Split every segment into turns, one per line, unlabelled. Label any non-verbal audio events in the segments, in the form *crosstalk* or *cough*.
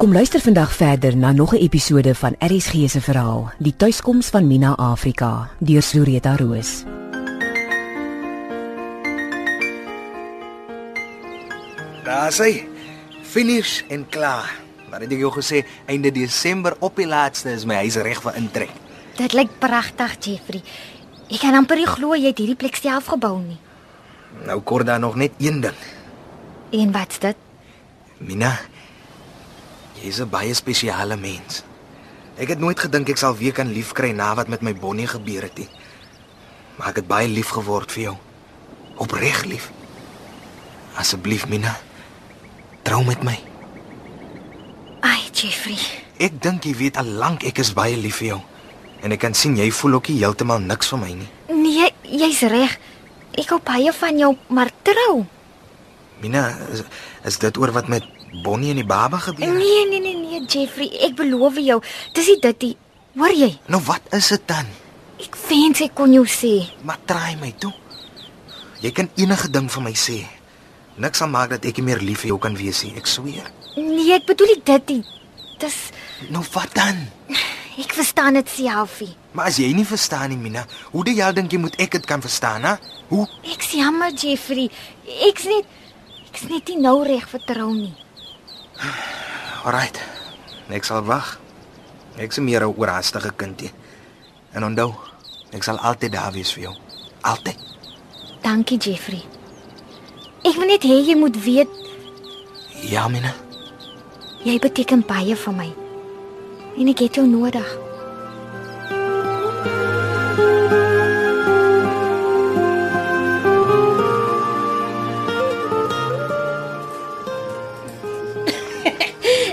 Kom luister vandag verder na nog 'n episode van RSG se verhaal, Die tuiskoms van Mina Afrika, deur Sureta Roos.
Daar sê finish en klaar. Maar het ek jou gesê einde Desember op die laatste is my huis reg vir intrek.
Dit lyk pragtig, Jeffrey. Ek kan amper nie glo jy het hierdie plek self gebou nie.
Nou kort daar nog net een ding.
En wat's dit?
Mina, jy's 'n baie spesiale mens. Ek het nooit gedink ek sal weer kan liefkry na wat met my Bonnie gebeur het nie. Maar ek het baie lief geword vir jou. Opreg lief. Asseblief Mina, trou met my.
Ai, Jeffrey.
Ek dink jy weet al lank ek is baie lief vir jou. En ek kan sien jy voel ook nie heeltemal niks van my nie.
Nee, jy's reg. Ek hou baie van jou, maar trou.
Mina, is, is dit oor wat met Bonnie en die baba gebeur? het?
Nee, nee, nee, nee, Jeffrey, ek beloof jou, dis nie dit nie. Hoor jy?
Nou wat is dit dan?
Ek wens ek kon jou sê.
Maar traai my toe. Jy kan enige ding vir my sê. Niks aan maak dat ek nie meer lief vir jou kan wees nie, ek sweer.
Nee, ek bedoel nie dit nie. Dis
Nou wat dan?
ek verstaan dit selfie.
Maar as jy nie verstaan nie, Mina, hoe die hel dink jy moet ek dit kan verstaan, hè? Hoe?
Ek's jammer, Jeffrey. Ek's net ek's net nie nou reg vir trou nie.
Alraight. Ek sal wag. Ek se meer 'n oorhaastige kindie. En onthou, ek sal altyd daar wees vir jou. Altyd.
Dankie, Jeffrey. Ek wil net hê jy moet weet
Ja, Mina.
Jy beteken baie vir my. En ek het jou nodig.
*laughs*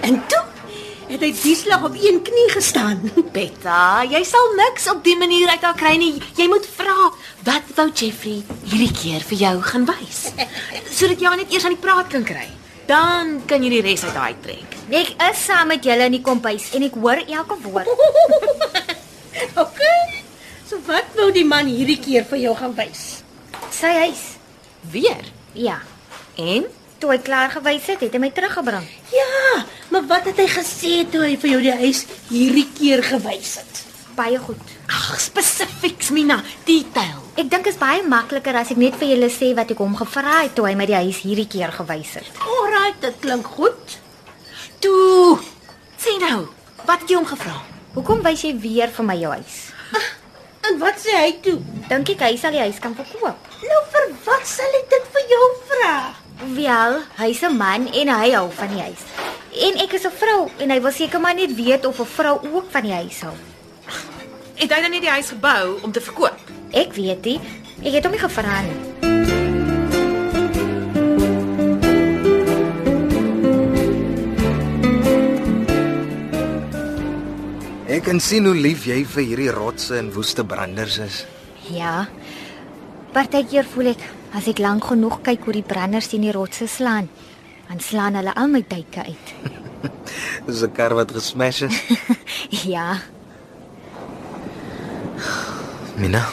En toe het hy die slag op een knie gestaan. *laughs*
Betta, jy sal niks op die manier uit haar kry nie. Jy moet vra wat wou Jeffrey hierdie keer vir jou gaan wys sodat jy haar net eers aan die praat kan kry. Dan kan jy die res uit haar trek.
Ek is saam met julle in die kombuis en ek hoor elke woord.
OK. So wat wou die man hierdie keer vir jou gaan wys?
Sy huis.
Weer.
Ja.
En
Toe hy klaar gewys het, het hy my teruggebring.
Ja, maar wat het hy gesê toe hy vir jou die huis hierdie keer gewys het?
Baie goed.
ag, spesifieks Mina, detail.
Ek dink dit is baie makliker as ek net vir julle sê wat ek hom gevra het toe hy my die huis hierdie keer gewys het.
Alraai, dit klink goed.
Toe. Sê nou, wat het jy hom gevra?
Hoekom wys jy weer vir my jou huis?
En wat sê hy toe?
Dink ek hy sal die huis kan verkoop?
Nou vir wat sal hy dit vir jou vra?
Wel, hy's 'n man en hy hou van die huis. En ek is 'n vrou en hy wil seker maar net weet of 'n vrou ook van die huis hou.
Het hy dan nie die huis gebou om te verkoop?
Ek weet nie. Ek het hom nie gevra nie.
Ek kan sien hoe lief jy vir hierdie rotse en woeste branders is.
Ja. Partykeer voel ek as ek lank genoeg kyk hoe die branders teen die rotse slaan, dan slaan hulle al my duike uit. *laughs*
Dis 'n kar wat gesmash is.
ja.
*laughs* Mina,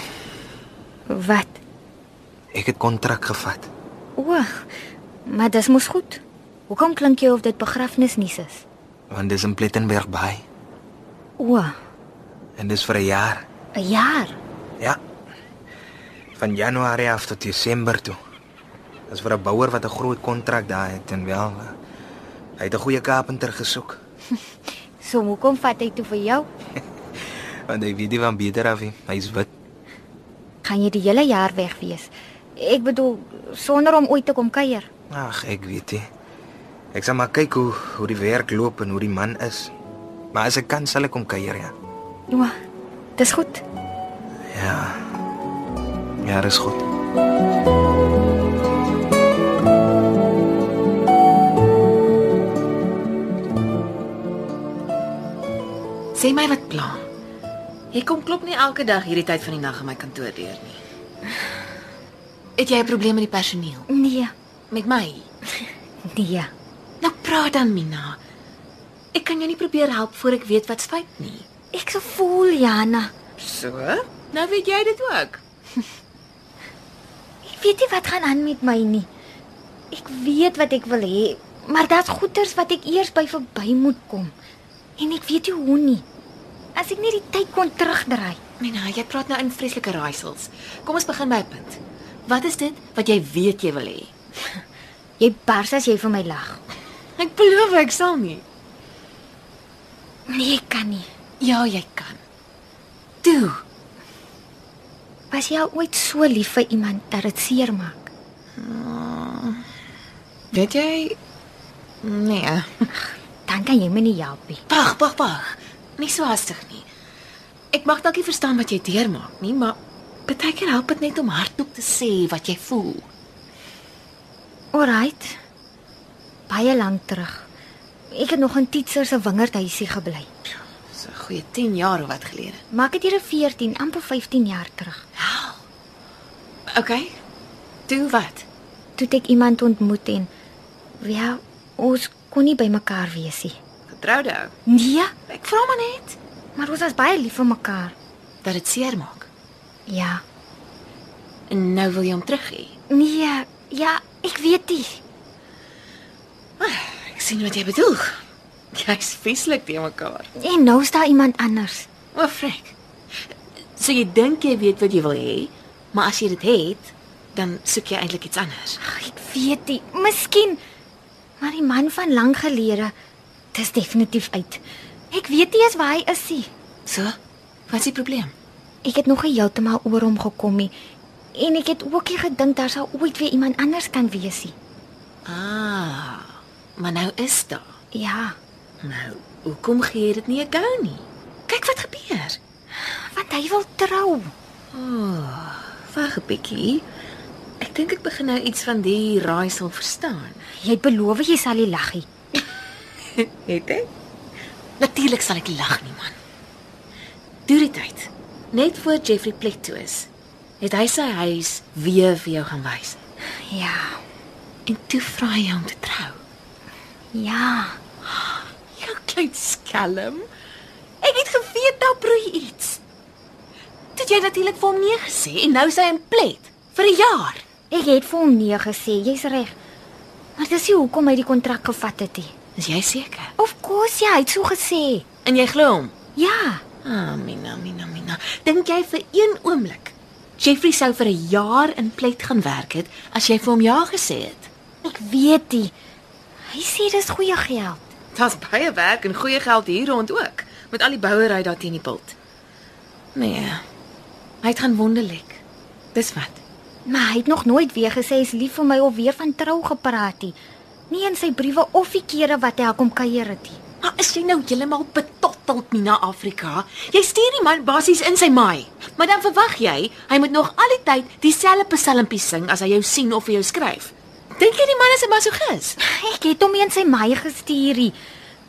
Wat?
ek het kontrak gevat.
O, maar dis mos goed. Hoekom klink jy of dit begrafnisnuus is?
Want dis in Plettenberg Bay
O,
en dis vir 'n jaar.
'n jaar.
Ja. Van Januarie af tot Desember toe. Dis vir 'n bouer wat 'n groot kontrak daar het en wel hy het 'n goeie kapenter gesoek
So hoekom vat hy toe vir jou?
want hy weet nie van beter af nie. Hy's wit.
Gaan jy die hele jaar weg wees? Ek bedoel sonder om ooit te kom kuier.
Ag, ek weet nie. Ek sal maar kyk hoe hoe die werk loop en hoe die man is. Maar as ek kan sal ek kom kuier ja.
O, dis goed.
Ja. Ja, dis goed.
Sê my wat pla. Jy kom klop nie elke dag hierdie tyd van die nag in my kantoor deur nie. Het jy 'n probleem met die personeel?
Nee,
Met my?
nee.
Nou praat dan Mina. Ek kan jou nie probeer help voor ek weet wat's fout nie.
Ek se voel Jana.
So? Nou weet jy dit ook.
Ek weet nie wat gaan aan met my nie. Ek weet wat ek wil hê, Maar daar's goeters wat ek eers by verby moet kom. En ek weet nie hoe nie. As ek net die tyd kon terugdraai.
Mina, jy praat nou in vreeslike raaisels. Kom ons begin by 'n punt. Wat is dit wat jy weet jy wil hê?
Jy bars as jy vir my lag.
Ek beloof ek sal nie.
Nee, ek kan nie.
Ja, jy kan. Toe.
Was jy al ooit so lief vir iemand dat dit seermaak?
Weet jy? Nee.
Dan kan jy my nie help nie.
Wag, wag, wag. Nie so haastig nie. Ek mag dalk nie verstaan wat jy deurmaak nie, maar baie keer help dit net om hardop te sê wat jy voel.
Alraight. Baie lank terug. Ek het nog in Titser se wingerdhuisie gebly.
So 'n goeie 10 jaar of wat gelede.
Maar ek het hier 14, amper 15 jaar terug.
Okay. Toe wat?
Toe het ek iemand ontmoet en ja, ons kon nie by mekaar wees nie.
Getroude ou.
Nee,
Ek vra maar net
maar ons was baie lief vir mekaar.
dat dit seer maak.
Ja.
En nou wil jy hom terug hê.
Nee, ja, ek weet nie.
Ek sien wat jy bedoel. Jy's vieslik te mekaar.
En nou is daar iemand anders.
O, frek. So jy dink jy weet wat jy wil hê, maar as jy dit het, dan soek jy eintlik iets anders.
Ag, ek weet nie. Miskien. Maar die man van lank gelede, dis definitief uit. Ek weet nie eens waar hy is nie.
So, wat is die probleem?
Ek het nog nie heeltemal oor hom gekom nie. En ek het ook nie gedink daar sou ooit weer iemand anders kan wees nie.
Ah, maar nou is daar.
Ja,
Nou, hoekom gee jy dit nie 'n go nie? Kyk wat gebeur.
want hy wil trou.
Wag 'n bietjie. Ek dink ek begin nou iets van die raaisel verstaan.
Jy het beloof jy sal nie lag nie.
Het ek? Natuurlik sal ek nie lag nie, man. Deur die tyd, net voor Jeffrey plek toe is, het hy sy huis weer vir jou gaan wys.
Ja.
En toe vra hy jou om te trou.
Ja.
Jou Ja, klein skelm. Ek het geweet daar broei iets. Toe het jy natuurlik vir hom nee gesê en nou is hy in plet vir 'n jaar.
Ek het vir hom nee gesê, jy's reg. Maar dis nie hoekom hy die kontrak gevat het nie.
Is jy seker?
Of course, ja, hy het so gesê.
En jy glo hom?
Ja.
Ah, Mina, Mina, Mina. Dink jy vir een oomblik Jeffrey sou vir 'n jaar in plet gaan werk het as jy vir hom ja gesê het?
Ek weet dit. Hy sê dis goeie geld.
Daar's baie werk en goeie geld hier rond ook, met al die bouery daar teen die bult. Nee. Hy het gaan wonderlik. Dis wat.
Maar hy het nog nooit weer gesê hy's lief vir my of weer van trou gepraat nie. Nie in sy briewe of die kere wat hy kom kuier het nie.
Maar is jy nou heeltemal betotteld, Mina Afrika? Jy stuur die man basies in sy maai. Maar dan verwag jy hy moet nog al die tyd dieselfde psalmpie sing as hy jou sien of vir jou skryf. Dink jy die man is 'n masochis?
Ek het hom nie in sy my gestuur nie.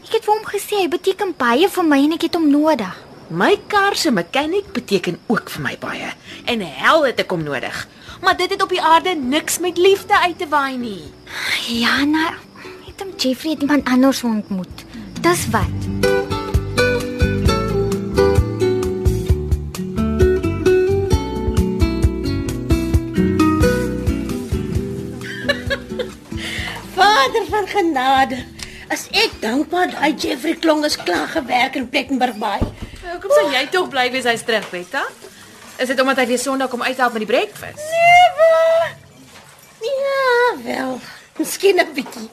Ek het vir hom gesê hy beteken baie vir my en ek het hom nodig.
My kar se mechanic beteken ook vir my baie en hel het ek hom nodig. Maar dit het op die aarde niks met liefde uit te waai nie.
Jana, het hom nou, Jeffrey het iemand anders ontmoet. Dis wat.
Vader van genade. As ek dankbaar daai Jeffrey Klong is klaar gewerk in Plettenburg Baai.
Hoekom sal jy tog bly wees hy's terug, Betta? Is dit omdat hy weer Sondag kom uithelp met die breakfast?
Ja, wel. Miskien 'n bietjie.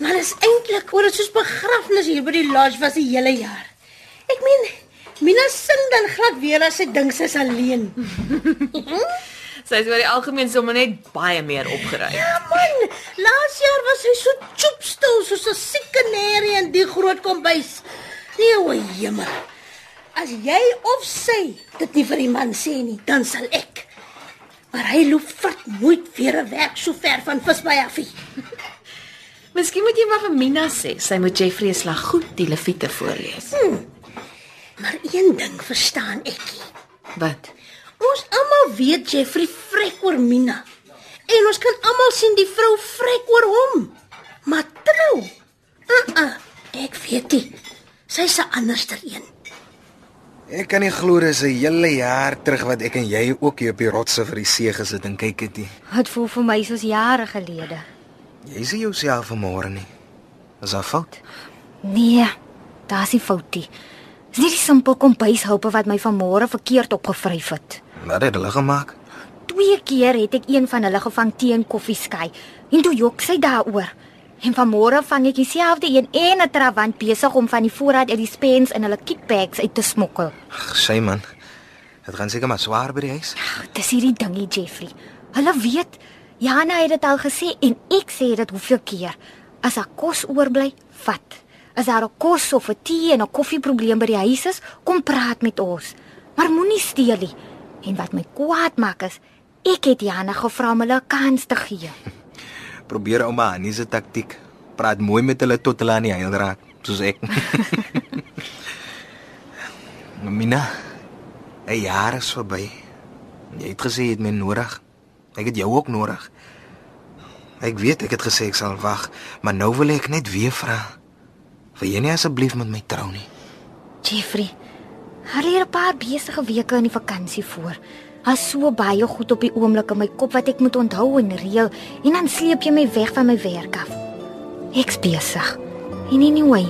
Maar is eintlik oor dit soos begrafnis hier by die lodge was die hele jaar. Ek meen, Mina sing dan glad weer as sy dink sy's alleen.
Sy is oor die algemeen sommer net baie meer opgeruim.
Ja man, laas jaar was hy so choopstil soos 'n siek kanarie in die groot kombuis. Nee, o jemmer. As jy of sy dit nie vir die man sê nie, dan sal ek. Maar hy loop vat nooit weer 'n werk so ver van Visby af nie.
Miskien moet jy maar vir Mina sê sy moet Jeffrey se slag goed die leviete voorlees.
Maar een ding verstaan ek nie.
Wat?
Ons almal weet Jeffrey vrek oor Mina. En ons kan almal sien die vrou vrek oor hom. Maar trou. Uh uh, ek weet nie. Sy's 'n anderster een.
Ek kan nie glo dis 'n hele jaar terug wat ek en jy ook hier op die rotse vir die see gesit en kyk het nie.
Dit voel vir my soos jare gelede.
Jy sien jouself vanmôre nie. Is haar fout?
Nee, daar's nie foutie. Dis net die simpel kombuishulpe wat my vanmôre verkeerd opgevryf het.
Wat het hulle gemaak?
Twee keer het ek een van hulle gevang teen koffieskei en toe jok sy daaroor. En vanmôre vang ek dieselfde een en 'n trawant besig om van die voorraad uit die spens in hulle kickbags uit te smokkel.
Ag, Sy man. Dit gaan seker maar swaar by die huis.
Ag, dis hierdie dingie, Jeffrey. Hulle weet, Jana het dit al gesê en ek sê dit hoeveel keer. As haar kos oorbly, vat. As daar 'n kos of 'n tee en 'n koffieprobleem by die huis is, kom praat met ons. Maar moenie steel nie. En wat my kwaad maak is, ek het Jana gevra om hulle 'n kans te gee.
Probeer ouma Annie se taktiek. Praat mooi met hulle tot hulle aan die heil raak, soos ek. *laughs* Mina, 'n jaar is verby. Jy het gesê jy het my nodig. Ek het jou ook nodig. Ek weet ek het gesê ek sal wag, maar nou wil ek net weer vra. Wil jy nie asseblief met my trou nie?
Jeffrey, hulle het 'n paar besige weke in die vakansie voor. Daar's so baie goed op die oomblik in my kop wat ek moet onthou en reël en dan sleep jy my weg van my werk af. Ek's besig. En anyway,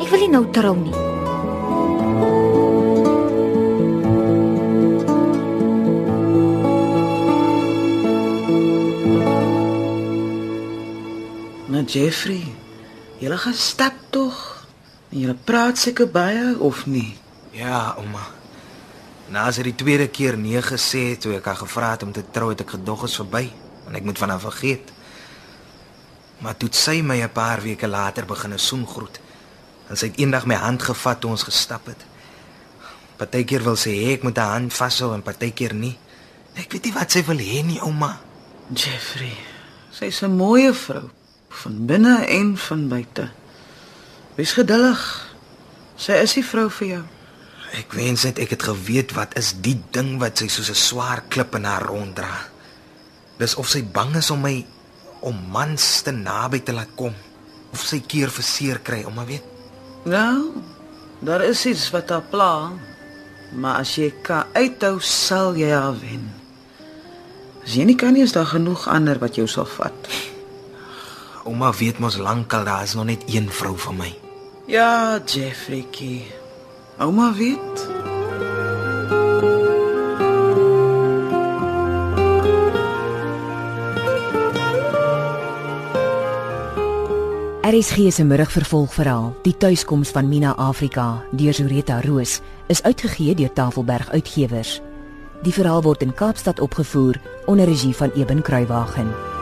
ek wil nie nou trou nie.
Nou Jeffrey, jy gaan stap tog. Jy praat seker baie of nie?
Ja, ouma. Na sy die tweede keer nee gesê het toe ek haar gevra het om te trou, het ek gedog is verby en ek moet van haar vergeet. Maar toe het sy my 'n paar weke later begin 'n soen groet en sy het eendag my hand gevat toe ons gestap het. Partykeer wil sy hê ek moet haar hand vashou en partykeer nie. Ek weet nie wat sy wil hê nie, ouma.
Jeffrey, sy's 'n mooie vrou, van binne en van buite. Wees geduldig. Sy is die vrou vir jou.
Ek wens net ek het geweet wat is die ding wat sy soos 'n swaar klip in haar ronddra. Dis of sy bang is om my om mans te naby te laat kom of sy keer verseer kry om maar weet.
Nou, daar is iets wat haar pla, maar as jy kan uithou, sal jy haar wen. As jy nie kan nie, is daar genoeg ander wat jou sal vat.
Ouma weet mos lankal daar is nog net een vrou vir my.
Ja, Jeffreykie. Ouma weet.
RSG se middagvervolgverhaal, Die tuiskoms van Mina Afrika, deur Zureta Roos, is uitgegee deur Tafelberg Uitgewers. Die verhaal word in Kaapstad opgevoer onder regie van Eben Kruiwagen.